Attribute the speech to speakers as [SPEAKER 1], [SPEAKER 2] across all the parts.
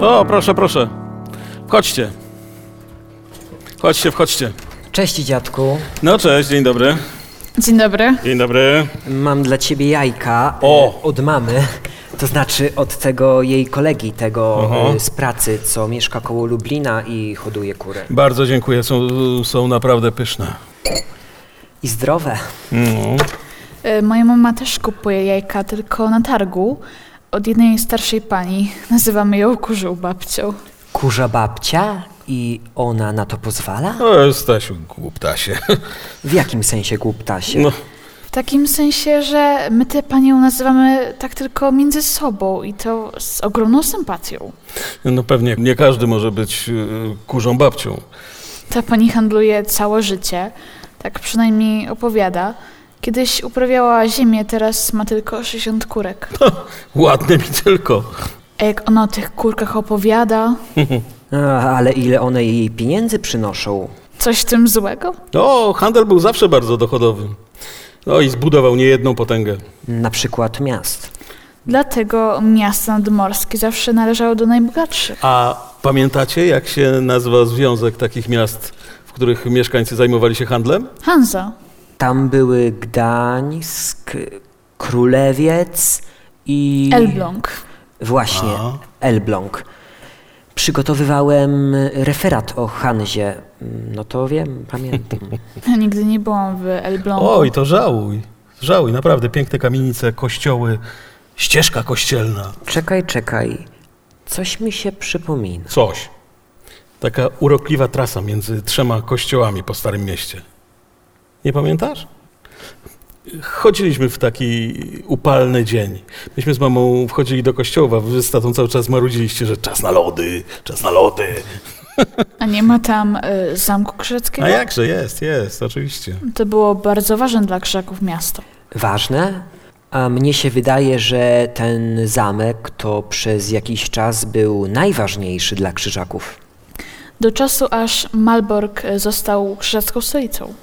[SPEAKER 1] O, proszę, proszę. Wchodźcie. Chodźcie, wchodźcie.
[SPEAKER 2] Cześć dziadku,
[SPEAKER 1] No cześć, dzień dobry.
[SPEAKER 3] Dzień dobry.
[SPEAKER 1] Dzień dobry.
[SPEAKER 2] mam dla ciebie jajka
[SPEAKER 1] O!
[SPEAKER 2] e, od mamy, to znaczy od tego jej kolegi, tego
[SPEAKER 1] Aha.
[SPEAKER 2] e, z pracy, co mieszka koło Lublina i hoduje kury.
[SPEAKER 1] Bardzo dziękuję, są, są naprawdę pyszne.
[SPEAKER 2] I zdrowe.
[SPEAKER 1] No.
[SPEAKER 3] E, Moja mama też kupuje jajka, tylko na targu od jednej starszej pani. Nazywamy ją kurzył babcią.
[SPEAKER 2] Kurza babcia i ona na to pozwala?
[SPEAKER 1] O, No, Stasiu, głuptasie.
[SPEAKER 2] W jakim sensie głuptasie?
[SPEAKER 1] No.
[SPEAKER 3] W takim sensie, że my tę panią nazywamy tak tylko między sobą i to z ogromną sympatią.
[SPEAKER 1] no pewnie, nie każdy może być y, kurzą babcią.
[SPEAKER 3] Ta pani handluje całe życie, tak przynajmniej opowiada. Kiedyś uprawiała ziemię, teraz ma tylko 60 kurek.
[SPEAKER 1] Ładne mi tylko.
[SPEAKER 3] A jak ona o tych kurkach opowiada,
[SPEAKER 2] A, ale ile one jej pieniędzy przynoszą?
[SPEAKER 3] coś w tym złego?
[SPEAKER 1] O, handel był zawsze bardzo dochodowy. No i zbudował niejedną potęgę.
[SPEAKER 2] Na przykład miast.
[SPEAKER 3] Dlatego miasta nadmorskie zawsze należały do najbogatszych.
[SPEAKER 1] A pamiętacie, jak się nazywa związek takich miast, w których mieszkańcy zajmowali się handlem?
[SPEAKER 3] Hanza,
[SPEAKER 2] Tam były Gdańsk, Królewiec i...
[SPEAKER 3] Elbląg.
[SPEAKER 2] Właśnie, Elbląg. Przygotowywałem referat o Hanzie. No to wiem, pamiętam.
[SPEAKER 3] Ja nigdy nie byłam w Elblągu.
[SPEAKER 1] Oj, to żałuj. Żałuj, naprawdę piękne kamienice, kościoły, ścieżka kościelna.
[SPEAKER 2] Czekaj, czekaj. Coś mi się przypomina.
[SPEAKER 1] Coś. Taka urokliwa trasa między trzema kościołami po Starym Mieście. Nie pamiętasz? Chodziliśmy w taki upalny dzień. Myśmy z mamą wchodzili do kościoła, a wy z tatą cały czas marudziliście, że czas na lody, czas na lody.
[SPEAKER 3] A nie ma tam y, Zamku Krzeckiego?
[SPEAKER 1] A jakże, jest, jest, oczywiście.
[SPEAKER 3] To było bardzo ważne dla krzaków miasto.
[SPEAKER 2] Ważne? A mnie się wydaje, że ten zamek to przez jakiś czas był najważniejszy dla krzyżaków.
[SPEAKER 3] Do czasu, aż Malbork y, został krzyżacką stolicą.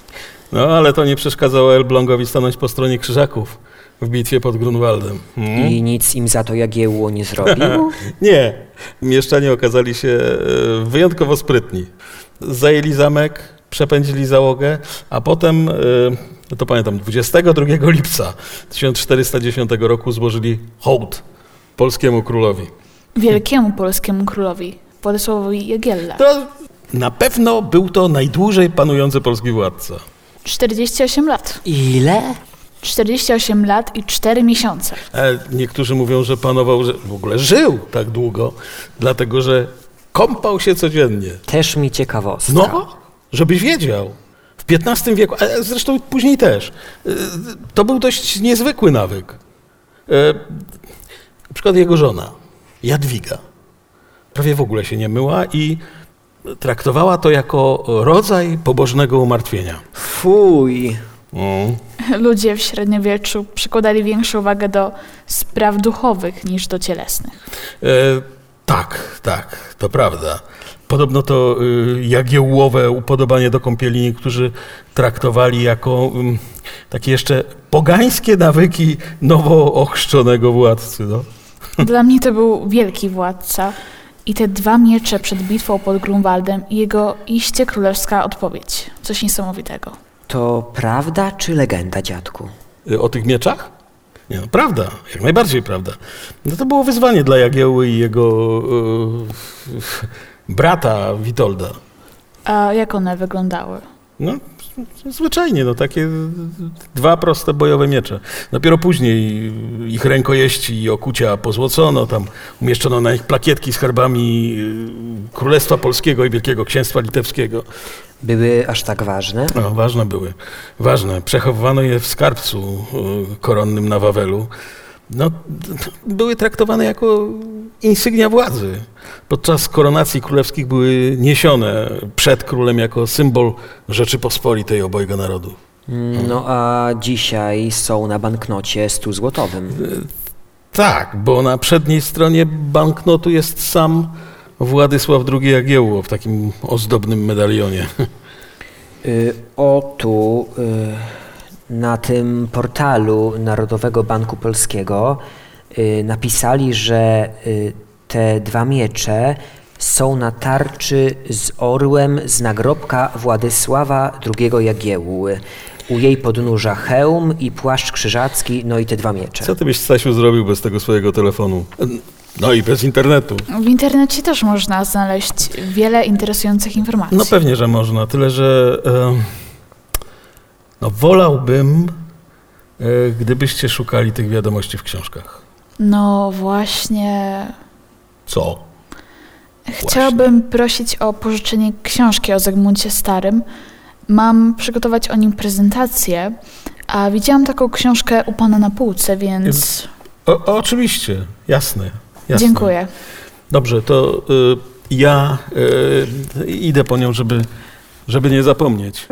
[SPEAKER 1] No, ale to nie przeszkadzało Elblągowi stanąć po stronie krzyżaków w bitwie pod Grunwaldem. Hmm?
[SPEAKER 2] I nic im za to Jagiełło nie zrobił?
[SPEAKER 1] Nie, mieszczanie okazali się e, wyjątkowo sprytni. Zajęli zamek, przepędzili załogę, a potem, e, no to pamiętam, 22 lipca 1410 roku złożyli hołd polskiemu królowi.
[SPEAKER 3] Wielkiemu polskiemu królowi, Władysławowi Jagielle.
[SPEAKER 1] To na pewno był to najdłużej panujący polski władca.
[SPEAKER 3] 48 lat.
[SPEAKER 2] Ile?
[SPEAKER 3] 48 lat i 4 miesiące.
[SPEAKER 1] E, Niektórzy mówią, że panował, że w ogóle żył tak długo, dlatego że kąpał się codziennie.
[SPEAKER 2] Też mi ciekawostka.
[SPEAKER 1] No, żebyś wiedział. W XV wieku, a zresztą później też. y, To był dość niezwykły nawyk. E, Na przykład jego żona, Jadwiga, prawie w ogóle się nie myła i traktowała to jako rodzaj pobożnego umartwienia.
[SPEAKER 2] Fuj.
[SPEAKER 3] Ludzie w średniowieczu przykładali większą wagę do spraw duchowych niż do cielesnych.
[SPEAKER 1] E, tak, tak, to prawda. Podobno to y, jagiełłowe upodobanie do kąpieli niektórzy traktowali jako ym, takie jeszcze pogańskie nawyki nowo ochrzczonego władcy. No.
[SPEAKER 3] Dla mnie to był wielki władca i te dwa miecze przed bitwą pod Grunwaldem i jego iście królewska odpowiedź. Coś niesamowitego.
[SPEAKER 2] To prawda czy legenda, dziadku?
[SPEAKER 1] Y, O tych mieczach? Nie, no, prawda, jak najbardziej prawda. No to było wyzwanie dla Jagiełły i jego y, brata Witolda.
[SPEAKER 3] A jak one wyglądały?
[SPEAKER 1] No, z- zwyczajnie, no takie dwa proste bojowe miecze. Dopiero później ich rękojeści i okucia pozłocono, tam umieszczono na nich plakietki z herbami y, Królestwa Polskiego i Wielkiego Księstwa Litewskiego.
[SPEAKER 2] Były aż tak ważne?
[SPEAKER 1] No, ważne były, ważne. Przechowywano je w skarbcu y, koronnym na Wawelu. No, d- d- były traktowane jako insygnia władzy. Podczas koronacji królewskich były niesione przed królem jako symbol Rzeczypospolitej obojga narodu.
[SPEAKER 2] No a dzisiaj są na banknocie 100 złotowym.
[SPEAKER 1] Tak, bo na przedniej stronie banknotu jest sam Władysław II Jagiełło w takim ozdobnym medalionie.
[SPEAKER 2] Y, o tu y, na tym portalu Narodowego Banku Polskiego y, napisali, że y, te dwa miecze są na tarczy z orłem z nagrobka Władysława II Jagiełły. U jej podnóża hełm i płaszcz krzyżacki, no i te dwa miecze.
[SPEAKER 1] Co ty byś, Stasiu, zrobił bez tego swojego telefonu? No i bez internetu.
[SPEAKER 3] W internecie też można znaleźć wiele interesujących informacji.
[SPEAKER 1] No pewnie, że można, tyle że e, no wolałbym, e, gdybyście szukali tych wiadomości w książkach.
[SPEAKER 3] No właśnie.
[SPEAKER 1] Co?
[SPEAKER 3] Chciałabym prosić o pożyczenie książki o Zygmuncie Starym. Mam przygotować o nim prezentację, a widziałam taką książkę u pana na półce, więc
[SPEAKER 1] O, oczywiście, jasne, jasne.
[SPEAKER 3] dziękuję.
[SPEAKER 1] Dobrze, to y, ja y, idę po nią, żeby, żeby nie zapomnieć.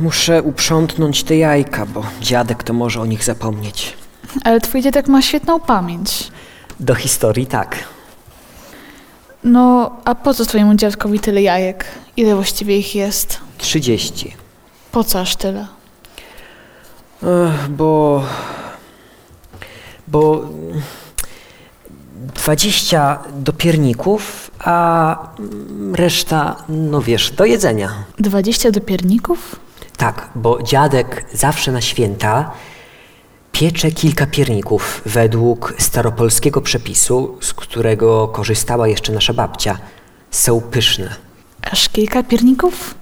[SPEAKER 2] Muszę uprzątnąć te jajka, bo dziadek to może o nich zapomnieć.
[SPEAKER 3] Ale twój dziadek ma świetną pamięć.
[SPEAKER 2] Do historii tak.
[SPEAKER 3] No, a po co twojemu dziadkowi tyle jajek? Ile właściwie ich jest?
[SPEAKER 2] 30.
[SPEAKER 3] Po co aż tyle?
[SPEAKER 2] Ech, bo. Bo. mm, 20 do pierników, a mm, reszta, no wiesz, do jedzenia.
[SPEAKER 3] 20 do pierników?
[SPEAKER 2] Tak, bo dziadek zawsze na święta piecze kilka pierników według staropolskiego przepisu, z którego korzystała jeszcze nasza babcia. Są pyszne.
[SPEAKER 3] Aż kilka pierników?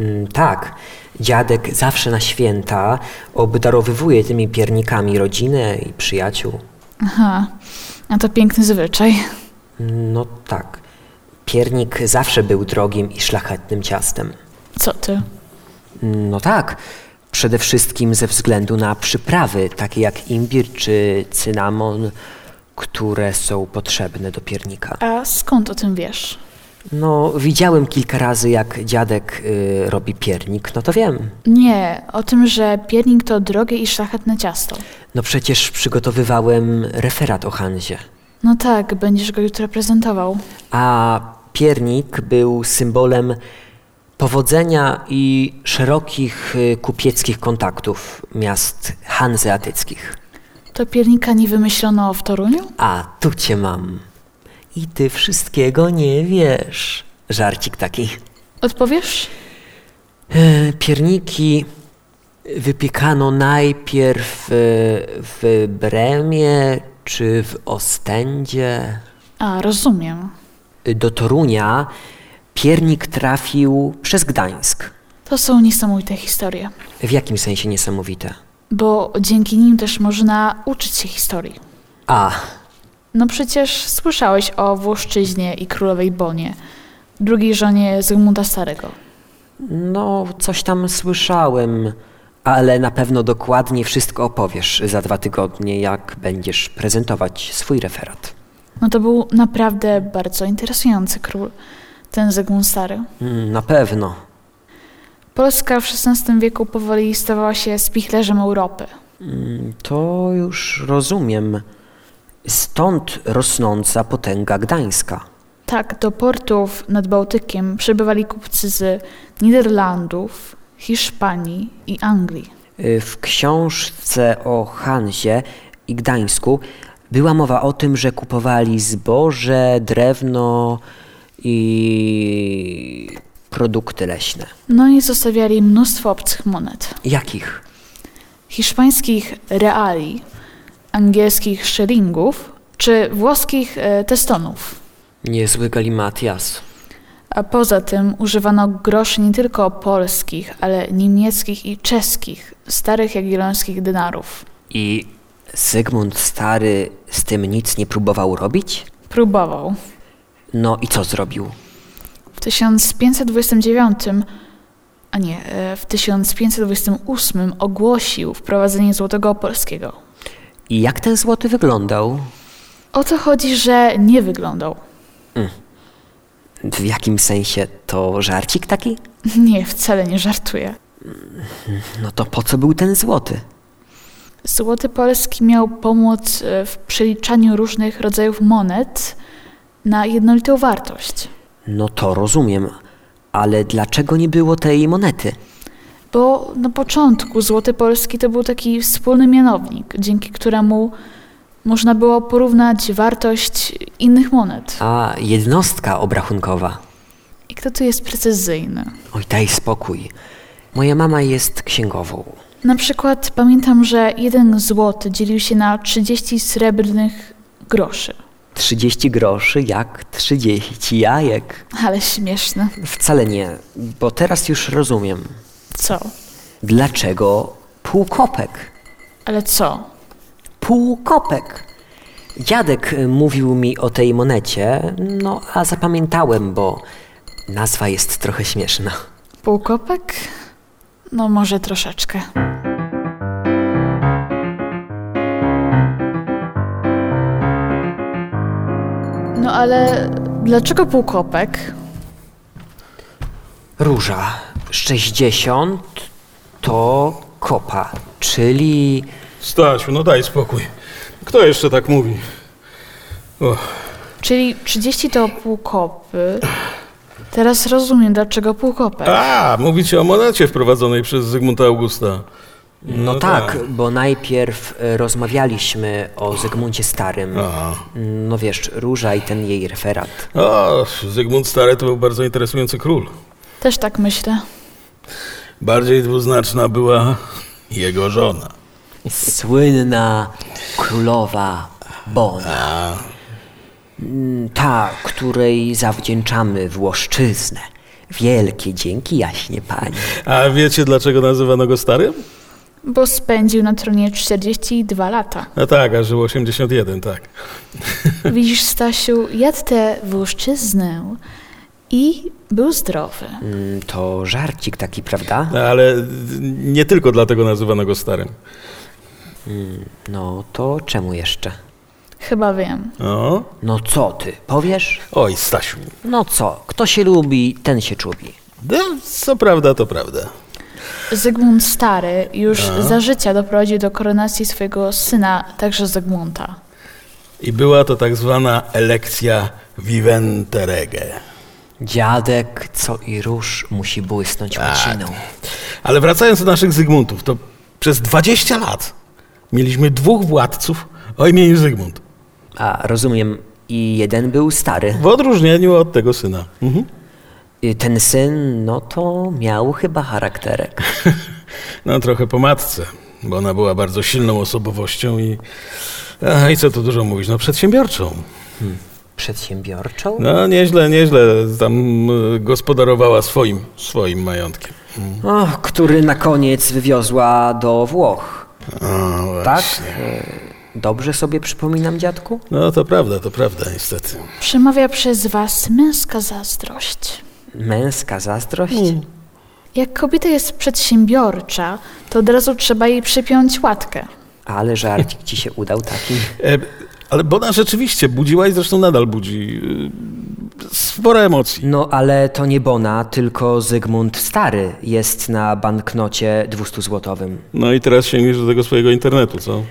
[SPEAKER 2] Mm, tak, dziadek zawsze na święta obdarowywuje tymi piernikami rodzinę i przyjaciół.
[SPEAKER 3] Aha, a to piękny zwyczaj.
[SPEAKER 2] No tak. Piernik zawsze był drogim i szlachetnym ciastem.
[SPEAKER 3] Co ty?
[SPEAKER 2] No tak. Przede wszystkim ze względu na przyprawy, takie jak imbir czy cynamon, które są potrzebne do piernika.
[SPEAKER 3] A skąd o tym wiesz?
[SPEAKER 2] No, widziałem kilka razy, jak dziadek y, robi piernik, no to wiem.
[SPEAKER 3] Nie, o tym, że piernik to drogie i szlachetne ciasto.
[SPEAKER 2] No przecież przygotowywałem referat o Hanzie.
[SPEAKER 3] No tak, będziesz go jutro prezentował.
[SPEAKER 2] a piernik był symbolem powodzenia i szerokich y, kupieckich kontaktów miast hanzeatyckich.
[SPEAKER 3] To piernika nie wymyślono w Toruniu?
[SPEAKER 2] A tu cię mam. I ty wszystkiego nie wiesz. Żarcik taki.
[SPEAKER 3] Odpowiesz?
[SPEAKER 2] E, Pierniki wypiekano najpierw y, w Bremie czy w Ostendzie.
[SPEAKER 3] A, rozumiem.
[SPEAKER 2] Do Torunia piernik trafił przez Gdańsk.
[SPEAKER 3] To są niesamowite historie,
[SPEAKER 2] W jakim sensie niesamowite?
[SPEAKER 3] bo dzięki nim też można uczyć się historii.
[SPEAKER 2] A,
[SPEAKER 3] No przecież słyszałeś o Włoszczyźnie i królowej Bonie, drugiej żonie Zygmunta Starego.
[SPEAKER 2] no coś tam słyszałem, ale na pewno dokładnie wszystko opowiesz za dwa tygodnie, jak będziesz prezentować swój referat.
[SPEAKER 3] No to był naprawdę bardzo interesujący król, ten Zygmunt Stary.
[SPEAKER 2] Mm, Na pewno.
[SPEAKER 3] Polska w XVI wieku powoli stawała się spichlerzem Europy.
[SPEAKER 2] Mm, To już rozumiem. Stąd rosnąca potęga gdańska.
[SPEAKER 3] Tak, do portów nad Bałtykiem przybywali kupcy z Niderlandów, Hiszpanii i Anglii.
[SPEAKER 2] Y, W książce o Hanzie i Gdańsku była mowa o tym, że kupowali zboże, drewno i produkty leśne.
[SPEAKER 3] No i zostawiali mnóstwo obcych monet.
[SPEAKER 2] Jakich?
[SPEAKER 3] Hiszpańskich reali, angielskich szylingów czy włoskich e, testonów.
[SPEAKER 2] Niezły galimatias.
[SPEAKER 3] A poza tym używano groszy nie tylko polskich, ale niemieckich i czeskich, starych jagiellońskich dynarów.
[SPEAKER 2] I Zygmunt Stary z tym nic nie próbował robić?
[SPEAKER 3] Próbował.
[SPEAKER 2] No i co zrobił?
[SPEAKER 3] W 1529, a nie, e, w 1528 ogłosił wprowadzenie złotego polskiego.
[SPEAKER 2] I jak ten złoty wyglądał?
[SPEAKER 3] O to chodzi, że nie wyglądał.
[SPEAKER 2] W jakim sensie to żarcik taki?
[SPEAKER 3] Nie, wcale nie żartuję.
[SPEAKER 2] No to po co był ten złoty?
[SPEAKER 3] Złoty polski miał pomóc e, w przeliczaniu różnych rodzajów monet na jednolitą wartość.
[SPEAKER 2] No to rozumiem. Ale dlaczego nie było tej monety?
[SPEAKER 3] Bo na początku Złoty Polski to był taki wspólny mianownik, dzięki któremu można było porównać wartość innych monet.
[SPEAKER 2] A jednostka obrachunkowa.
[SPEAKER 3] I kto tu jest precyzyjny?
[SPEAKER 2] Oj, daj spokój. Moja mama jest księgową.
[SPEAKER 3] Na przykład pamiętam, że jeden złoty dzielił się na 30 srebrnych groszy.
[SPEAKER 2] 30 groszy jak 30 jajek.
[SPEAKER 3] Ale śmieszne.
[SPEAKER 2] Wcale nie, bo teraz już rozumiem.
[SPEAKER 3] Co?
[SPEAKER 2] Dlaczego półkopek?
[SPEAKER 3] Ale co?
[SPEAKER 2] Półkopek. Dziadek mówił mi o tej monecie, no a zapamiętałem, bo nazwa jest trochę śmieszna.
[SPEAKER 3] Półkopek? No może troszeczkę. No ale dlaczego półkopek?
[SPEAKER 2] Róża 60 to kopa, czyli
[SPEAKER 1] Stasiu, no daj spokój. Kto jeszcze tak mówi? O,
[SPEAKER 3] Czyli 30 to półkopy. Teraz rozumiem, dlaczego półkopek.
[SPEAKER 1] A, mówicie o monecie wprowadzonej przez Zygmunta Augusta.
[SPEAKER 2] No, tak, bo najpierw e, rozmawialiśmy o Zygmuncie Starym.
[SPEAKER 1] A.
[SPEAKER 2] No wiesz, Róża i ten jej referat.
[SPEAKER 1] O, Zygmunt Stary to był bardzo interesujący król.
[SPEAKER 3] Też tak myślę.
[SPEAKER 1] Bardziej dwuznaczna była jego żona.
[SPEAKER 2] Słynna królowa Bona. Mm, Ta, której zawdzięczamy Włoszczyznę. Wielkie dzięki jaśnie pani.
[SPEAKER 1] A wiecie, dlaczego nazywano go starym?
[SPEAKER 3] Bo spędził na tronie 42 lata.
[SPEAKER 1] No tak, a żył 81, tak.
[SPEAKER 3] Widzisz, Stasiu, jadł tę włoszczyznę i był zdrowy.
[SPEAKER 2] Mm, To żarcik taki, prawda?
[SPEAKER 1] No, Ale nie tylko dlatego nazywano go starym.
[SPEAKER 2] No to czemu jeszcze?
[SPEAKER 3] Chyba wiem.
[SPEAKER 1] O,
[SPEAKER 2] No co ty, powiesz?
[SPEAKER 1] oj, Stasiu.
[SPEAKER 2] No co, kto się lubi, ten się czubi.
[SPEAKER 1] No, co prawda, to prawda.
[SPEAKER 3] Zygmunt Stary już za życia doprowadził do koronacji swojego syna, także Zygmunta.
[SPEAKER 1] I była to tak zwana elekcja vivente rege.
[SPEAKER 2] Dziadek, co i róż, musi błysnąć łaciną.
[SPEAKER 1] Ale wracając do naszych Zygmuntów, to przez 20 lat mieliśmy dwóch władców o imieniu Zygmunt.
[SPEAKER 2] A rozumiem, i jeden był stary.
[SPEAKER 1] W odróżnieniu od tego syna. Mhm.
[SPEAKER 2] I Ten syn, no to miał chyba charakterek.
[SPEAKER 1] No trochę po matce, bo ona była bardzo silną osobowością i... A, I co tu dużo mówić, no przedsiębiorczą.
[SPEAKER 2] Przedsiębiorczą?
[SPEAKER 1] No nieźle, nieźle tam y, gospodarowała swoim, swoim majątkiem.
[SPEAKER 2] Och, który na koniec wywiozła do Włoch.
[SPEAKER 1] O,
[SPEAKER 2] Tak? E, Dobrze sobie przypominam, dziadku?
[SPEAKER 1] No to prawda, to prawda niestety.
[SPEAKER 3] Przemawia przez was męska zazdrość.
[SPEAKER 2] Męska zazdrość?
[SPEAKER 3] Jak kobieta jest przedsiębiorcza, to od razu trzeba jej przypiąć łatkę.
[SPEAKER 2] Ale żarcik ci się udał taki.
[SPEAKER 1] E, ale Bona rzeczywiście budziła i zresztą nadal budzi y, sporo emocji.
[SPEAKER 2] No ale to nie Bona, tylko Zygmunt Stary jest na banknocie 200-złotowym.
[SPEAKER 1] No i teraz sięgniesz do tego swojego internetu, co?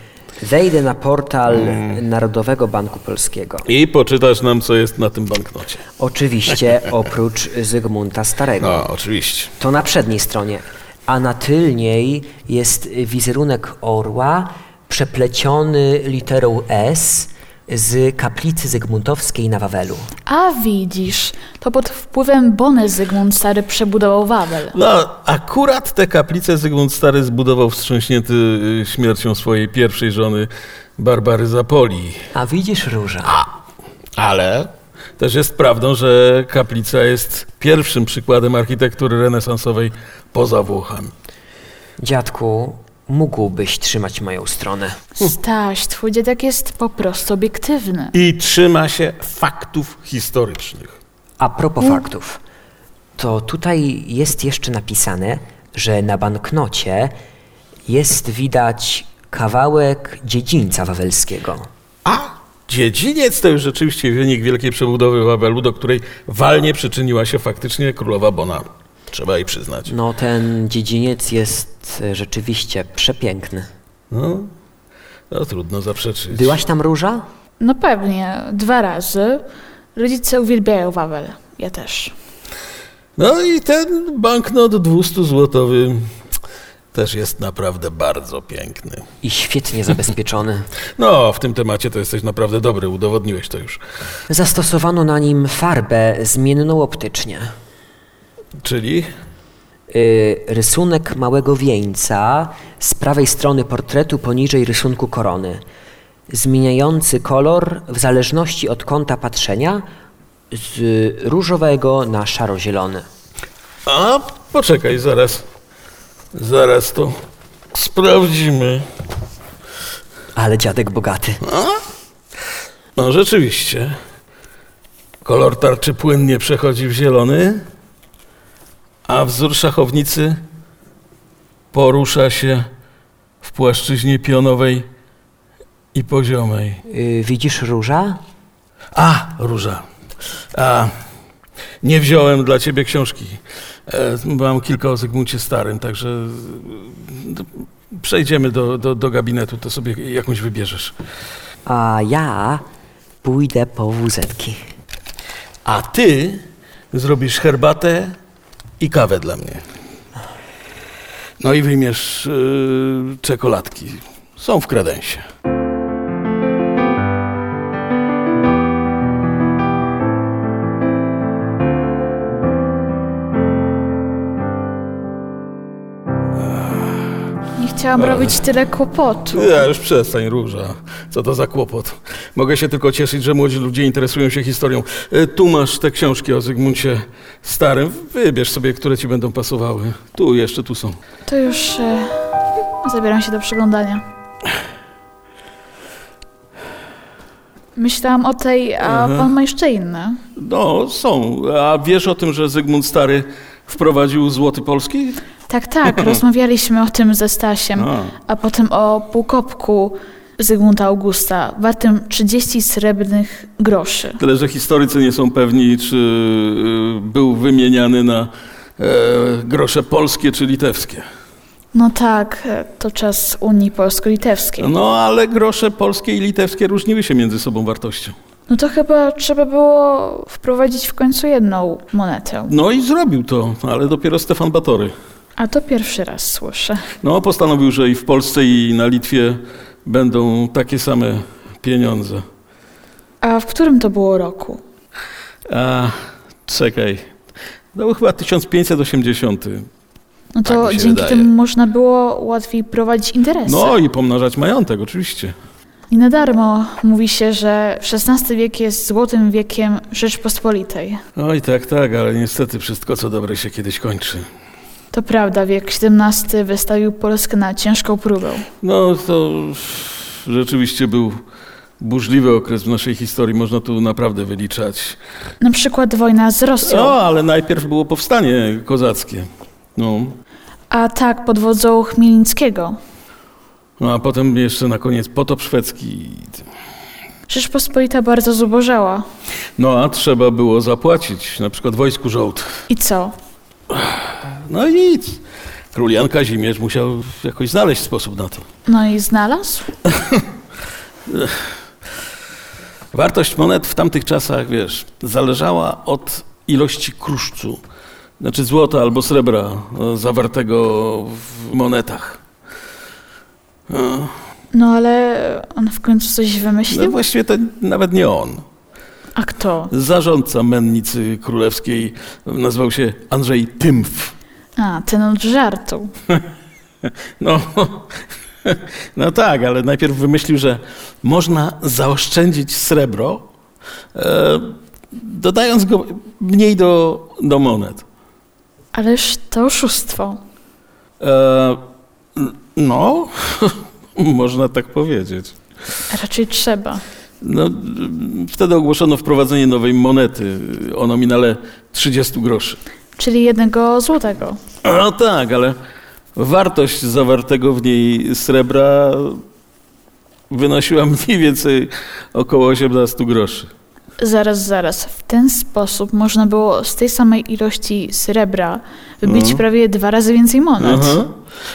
[SPEAKER 2] Wejdę na portal Narodowego Banku Polskiego.
[SPEAKER 1] I poczytasz nam, co jest na tym banknocie.
[SPEAKER 2] Oczywiście oprócz Zygmunta Starego.
[SPEAKER 1] No, oczywiście.
[SPEAKER 2] To na przedniej stronie. A na tylniej jest wizerunek orła przepleciony literą S z kaplicy Zygmuntowskiej na Wawelu.
[SPEAKER 3] A widzisz, to pod wpływem Bony Zygmunt Stary przebudował Wawel.
[SPEAKER 1] No, akurat tę kaplicę Zygmunt Stary zbudował wstrząśnięty y, śmiercią swojej pierwszej żony Barbary Zapoli.
[SPEAKER 2] A widzisz róża.
[SPEAKER 1] Ale też jest prawdą, że kaplica jest pierwszym przykładem architektury renesansowej poza Włochami.
[SPEAKER 2] Dziadku, mógłbyś trzymać moją stronę.
[SPEAKER 3] Staś, twój dziadek jest po prostu obiektywny.
[SPEAKER 1] I trzyma się faktów historycznych.
[SPEAKER 2] A propos faktów, to tutaj jest jeszcze napisane, że na banknocie jest widać kawałek dziedzińca wawelskiego.
[SPEAKER 1] A dziedziniec to już rzeczywiście wynik wielkiej przebudowy Wawelu, do której walnie przyczyniła się faktycznie królowa Bona. Trzeba jej przyznać.
[SPEAKER 2] No ten dziedziniec jest e, rzeczywiście przepiękny.
[SPEAKER 1] No, no trudno zaprzeczyć.
[SPEAKER 2] Byłaś tam róża?
[SPEAKER 3] No pewnie, dwa razy. Rodzice uwielbiają Wawel, ja też.
[SPEAKER 1] No i ten banknot 200-złotowy też jest naprawdę bardzo piękny.
[SPEAKER 2] I świetnie zabezpieczony.
[SPEAKER 1] No, w tym temacie to jesteś naprawdę dobry, udowodniłeś to już.
[SPEAKER 2] Zastosowano na nim farbę zmienną optycznie.
[SPEAKER 1] Czyli?
[SPEAKER 2] Y, rysunek małego wieńca z prawej strony portretu poniżej rysunku korony, zmieniający kolor w zależności od kąta patrzenia z różowego na szaro-zielony.
[SPEAKER 1] A, poczekaj, zaraz. Zaraz to sprawdzimy.
[SPEAKER 2] Ale dziadek bogaty.
[SPEAKER 1] A? No rzeczywiście. Kolor tarczy płynnie przechodzi w zielony, a wzór szachownicy porusza się w płaszczyźnie pionowej i poziomej.
[SPEAKER 2] Y, widzisz róża?
[SPEAKER 1] A, Róża. A, nie wziąłem dla ciebie książki. E, mam kilka o Zygmuncie Starym, także e, d- przejdziemy do, do, do gabinetu, to sobie jakąś wybierzesz.
[SPEAKER 2] A ja pójdę po wózetki.
[SPEAKER 1] A ty zrobisz herbatę i kawę dla mnie. No i wyjmiesz e, czekoladki. Są w kredensie.
[SPEAKER 3] Nie chciałam robić tyle kłopotu.
[SPEAKER 1] Ja już przestań, Róża. Co to za kłopot. Mogę się tylko cieszyć, że młodzi ludzie interesują się historią. E, Tu masz te książki o Zygmuncie Starym. Wybierz sobie, które ci będą pasowały. Tu jeszcze, tu są.
[SPEAKER 3] To już e, zabieram się do przeglądania. Myślałam o tej, a
[SPEAKER 1] Aha.
[SPEAKER 3] pan ma jeszcze inne.
[SPEAKER 1] No, są. A wiesz o tym, że Zygmunt Stary wprowadził złoty polski?
[SPEAKER 3] Tak, tak, rozmawialiśmy o tym ze Stasiem,
[SPEAKER 1] A.
[SPEAKER 3] a potem o półkopku Zygmunta Augusta, wartym 30 srebrnych groszy.
[SPEAKER 1] Tyle, że historycy nie są pewni, czy y, był wymieniany na e, grosze polskie czy litewskie.
[SPEAKER 3] No tak, e, to czas Unii Polsko-Litewskiej.
[SPEAKER 1] No, ale grosze polskie i litewskie różniły się między sobą wartością.
[SPEAKER 3] No to chyba trzeba było wprowadzić w końcu jedną monetę.
[SPEAKER 1] No i zrobił to, ale dopiero Stefan Batory.
[SPEAKER 3] A to pierwszy raz słyszę.
[SPEAKER 1] No, postanowił, że i w Polsce, i na Litwie będą takie same pieniądze.
[SPEAKER 3] A w którym to było roku?
[SPEAKER 1] A, czekaj. To był chyba 1580.
[SPEAKER 3] No
[SPEAKER 1] Tak
[SPEAKER 3] to
[SPEAKER 1] mi się
[SPEAKER 3] dzięki
[SPEAKER 1] wydaje.
[SPEAKER 3] temu można było łatwiej prowadzić interesy.
[SPEAKER 1] No i pomnażać majątek, oczywiście.
[SPEAKER 3] I na darmo mówi się, że XVI wiek jest złotym wiekiem Rzeczpospolitej.
[SPEAKER 1] Oj, tak, tak, ale niestety wszystko, co dobre się kiedyś kończy.
[SPEAKER 3] To prawda, wiek XVII wystawił Polskę na ciężką próbę.
[SPEAKER 1] No, to rzeczywiście był burzliwy okres w naszej historii. Można tu naprawdę wyliczać.
[SPEAKER 3] Na przykład wojna z Rosją.
[SPEAKER 1] O, ale najpierw było powstanie kozackie. No,
[SPEAKER 3] A tak, pod wodzą Chmielińskiego.
[SPEAKER 1] No, a potem jeszcze na koniec potop szwedzki.
[SPEAKER 3] Rzeczpospolita bardzo zubożała.
[SPEAKER 1] No a trzeba było zapłacić, na przykład wojsku żołd.
[SPEAKER 3] I co?
[SPEAKER 1] No i nic. Król Jan Kazimierz musiał jakoś znaleźć sposób na to.
[SPEAKER 3] No i znalazł?
[SPEAKER 1] Wartość monet w tamtych czasach, wiesz, zależała od ilości kruszcu, znaczy złota albo srebra e, zawartego w monetach. E,
[SPEAKER 3] No ale on w końcu coś
[SPEAKER 1] No
[SPEAKER 3] wymyślił?
[SPEAKER 1] właściwie to nawet nie on.
[SPEAKER 3] A kto?
[SPEAKER 1] Zarządca mennicy królewskiej nazywał się Andrzej Tymf.
[SPEAKER 3] A, ten od żartu.
[SPEAKER 1] No, no tak, ale najpierw wymyślił, że można zaoszczędzić srebro, e, dodając go mniej do, do monet.
[SPEAKER 3] Ależ to oszustwo.
[SPEAKER 1] E, no, można tak powiedzieć.
[SPEAKER 3] Raczej trzeba.
[SPEAKER 1] No, wtedy ogłoszono wprowadzenie nowej monety o nominale 30 groszy.
[SPEAKER 3] Czyli jednego złotego.
[SPEAKER 1] No tak, ale wartość zawartego w niej srebra wynosiła mniej więcej około 18 groszy.
[SPEAKER 3] Zaraz, zaraz. W ten sposób można było z tej samej ilości srebra wybić
[SPEAKER 1] Mhm.
[SPEAKER 3] prawie dwa razy więcej monet.
[SPEAKER 1] Aha.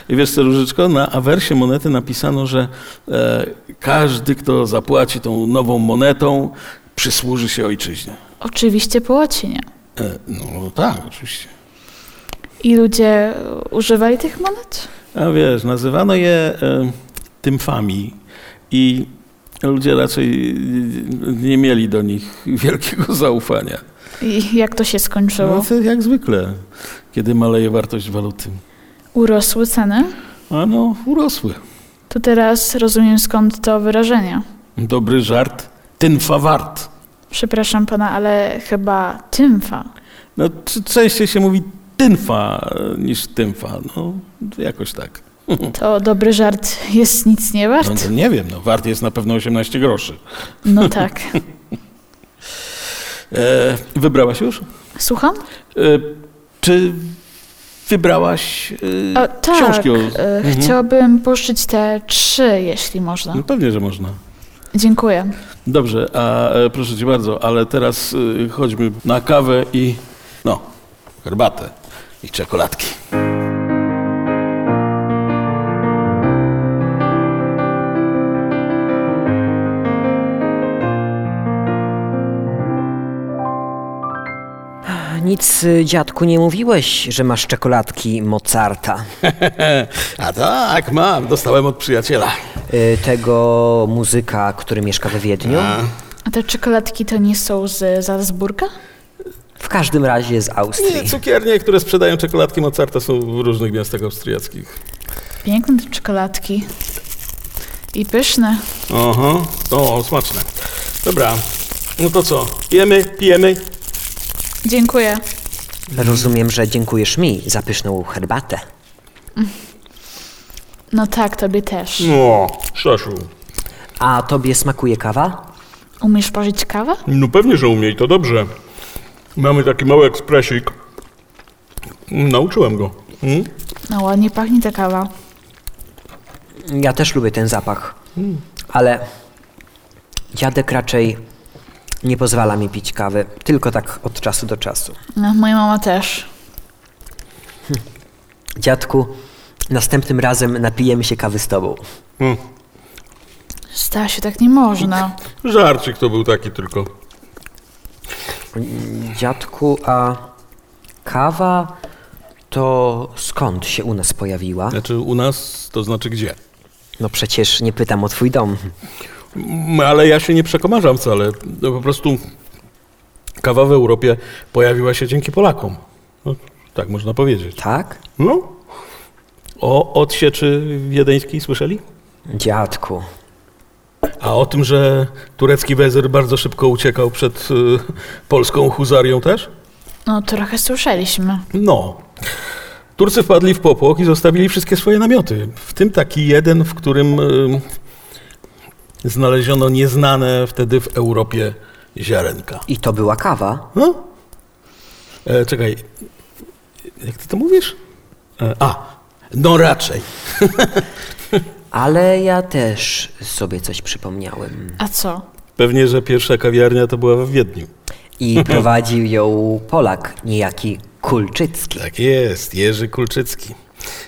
[SPEAKER 1] I wiesz co, Różyczko, na awersie monety napisano, że e, każdy, kto zapłaci tą nową monetą, przysłuży się ojczyźnie.
[SPEAKER 3] Oczywiście po łacinie.
[SPEAKER 1] E, No tak, oczywiście.
[SPEAKER 3] I ludzie używali tych monet?
[SPEAKER 1] A wiesz, nazywano je e, tymfami i ludzie raczej nie mieli do nich wielkiego zaufania.
[SPEAKER 3] I jak to się skończyło?
[SPEAKER 1] No, to jak zwykle, kiedy maleje wartość waluty.
[SPEAKER 3] Urosły ceny?
[SPEAKER 1] A no, urosły.
[SPEAKER 3] To teraz rozumiem skąd to wyrażenie.
[SPEAKER 1] Dobry żart, tynfa wart.
[SPEAKER 3] Przepraszam pana, ale chyba tymfa.
[SPEAKER 1] No, c- częściej się mówi tynfa e, niż tymfa. No, jakoś tak.
[SPEAKER 3] To dobry żart jest nic nie
[SPEAKER 1] No,
[SPEAKER 3] wart.
[SPEAKER 1] to nie wiem, no, wart jest na pewno 18 groszy.
[SPEAKER 3] No tak.
[SPEAKER 1] E, wybrałaś już?
[SPEAKER 3] Słucham?
[SPEAKER 1] E, czy wybrałaś e,
[SPEAKER 3] O, tak.
[SPEAKER 1] książki? O...
[SPEAKER 3] e,
[SPEAKER 1] Mhm.
[SPEAKER 3] Chciałabym pożyczyć te trzy, jeśli można.
[SPEAKER 1] No, pewnie, że można.
[SPEAKER 3] Dziękuję.
[SPEAKER 1] Dobrze, a e, proszę cię bardzo, ale teraz e, chodźmy na kawę i no, herbatę i czekoladki.
[SPEAKER 2] Nic, y, dziadku, nie mówiłeś, że masz czekoladki Mozarta.
[SPEAKER 1] A tak, mam, dostałem od przyjaciela.
[SPEAKER 2] Y, Tego muzyka, który mieszka we Wiedniu.
[SPEAKER 3] A te czekoladki to nie są z Salzburga?
[SPEAKER 2] W każdym razie z Austrii.
[SPEAKER 1] Nie, cukiernie, które sprzedają czekoladki Mozarta są w różnych miastach austriackich.
[SPEAKER 3] Piękne te czekoladki. I pyszne.
[SPEAKER 1] Oho, o, smaczne. Dobra, no to co, jemy, pijemy?
[SPEAKER 3] Dziękuję.
[SPEAKER 2] Rozumiem, że dziękujesz mi za pyszną herbatę.
[SPEAKER 3] No tak, tobie też.
[SPEAKER 1] No, szaszu.
[SPEAKER 2] A tobie smakuje kawa?
[SPEAKER 3] Umiesz parzyć kawę?
[SPEAKER 1] No pewnie, że umiej, to dobrze. Mamy taki mały ekspresik. Nauczyłem go. Mm?
[SPEAKER 3] No ładnie pachnie ta kawa.
[SPEAKER 2] Ja też lubię ten zapach. Ale dziadek raczej nie pozwala mi pić kawy, tylko tak od czasu do czasu.
[SPEAKER 3] No, moja mama też.
[SPEAKER 2] Dziadku, następnym razem napijemy się kawy z tobą.
[SPEAKER 1] Mm.
[SPEAKER 3] Stasiu, tak nie można.
[SPEAKER 1] Żarcik to był taki tylko.
[SPEAKER 2] Dziadku, a kawa to skąd się u nas pojawiła?
[SPEAKER 1] Znaczy u nas, to znaczy gdzie?
[SPEAKER 2] No przecież nie pytam o twój dom.
[SPEAKER 1] Mm, Ale ja się nie przekomarzam wcale. No, po prostu kawa w Europie pojawiła się dzięki Polakom. No, tak można powiedzieć.
[SPEAKER 2] Tak?
[SPEAKER 1] No. O odsieczy wiedeńskiej słyszeli?
[SPEAKER 2] Dziadku.
[SPEAKER 1] A o tym, że turecki wezyr bardzo szybko uciekał przed y, polską huzarią też?
[SPEAKER 3] No trochę słyszeliśmy.
[SPEAKER 1] No. Turcy wpadli w popłoch i zostawili wszystkie swoje namioty. W tym taki jeden, w którym y, znaleziono nieznane wtedy w Europie ziarenka.
[SPEAKER 2] I to była kawa?
[SPEAKER 1] No? E, czekaj, jak ty to mówisz? E, a, no raczej.
[SPEAKER 2] Ale ja też sobie coś przypomniałem.
[SPEAKER 3] A co?
[SPEAKER 1] Pewnie, że pierwsza kawiarnia to była w Wiedniu.
[SPEAKER 2] I prowadził ją Polak, niejaki Kulczycki.
[SPEAKER 1] Tak jest, Jerzy Kulczycki,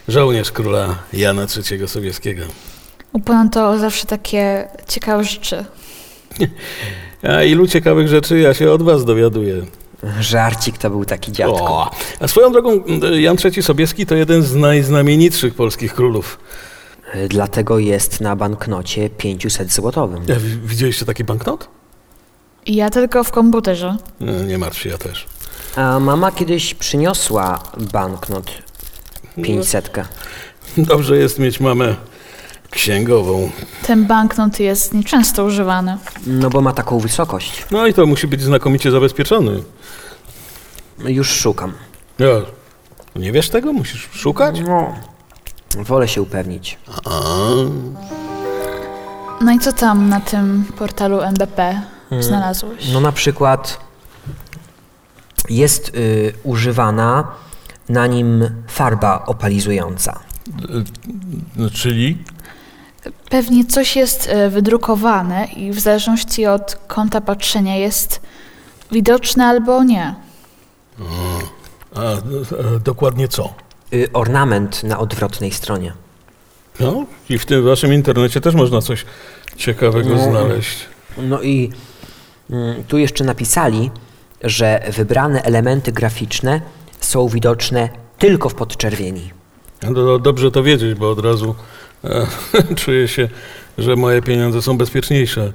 [SPEAKER 1] żołnierz króla Jana III Sobieskiego.
[SPEAKER 3] U pana to zawsze takie ciekawe rzeczy.
[SPEAKER 1] A ilu ciekawych rzeczy ja się od was dowiaduję.
[SPEAKER 2] Żarcik to był taki dziadku.
[SPEAKER 1] O, a swoją drogą mm, Jan III Sobieski to jeden z najznamienitszych polskich królów.
[SPEAKER 2] Y, Dlatego jest na banknocie 500 złotowym.
[SPEAKER 1] E, wi- Widzieliście taki banknot?
[SPEAKER 3] I ja tylko w komputerze.
[SPEAKER 1] E, Nie martw się, ja też.
[SPEAKER 2] A mama kiedyś przyniosła banknot 500.
[SPEAKER 1] Dobrze jest mieć mamę księgową.
[SPEAKER 3] Ten banknot jest nieczęsto używany.
[SPEAKER 2] No bo ma taką wysokość.
[SPEAKER 1] No i to musi być znakomicie zabezpieczony.
[SPEAKER 2] Już szukam.
[SPEAKER 1] Ja, nie wiesz tego? Musisz szukać?
[SPEAKER 2] No. Wolę się upewnić.
[SPEAKER 3] No i co tam na tym portalu NBP znalazłeś?
[SPEAKER 2] No na przykład jest y, używana na nim farba opalizująca.
[SPEAKER 1] no, Czyli?
[SPEAKER 3] Pewnie coś jest e, wydrukowane i w zależności od kąta patrzenia jest widoczne albo nie.
[SPEAKER 1] A, e, dokładnie co?
[SPEAKER 2] Y, ornament na odwrotnej stronie.
[SPEAKER 1] No i w tym waszym internecie też można coś ciekawego
[SPEAKER 2] No.
[SPEAKER 1] znaleźć.
[SPEAKER 2] No i mm, tu jeszcze napisali, że wybrane elementy graficzne są widoczne tylko w podczerwieni.
[SPEAKER 1] No, to dobrze to wiedzieć, bo od razu e, czuję się, że moje pieniądze są bezpieczniejsze.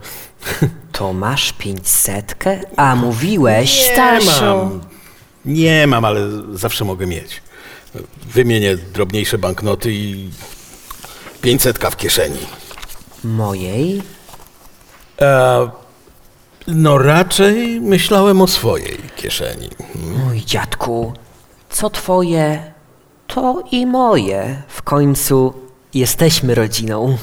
[SPEAKER 2] To masz pięćsetkę? A mówiłeś...
[SPEAKER 3] Stasiu,
[SPEAKER 1] Nie mam, ale zawsze mogę mieć. Wymienię drobniejsze banknoty i 500 w kieszeni.
[SPEAKER 2] Mojej?
[SPEAKER 1] E, no raczej myślałem o swojej kieszeni.
[SPEAKER 2] Mój dziadku, co twoje, to i moje. W końcu jesteśmy rodziną.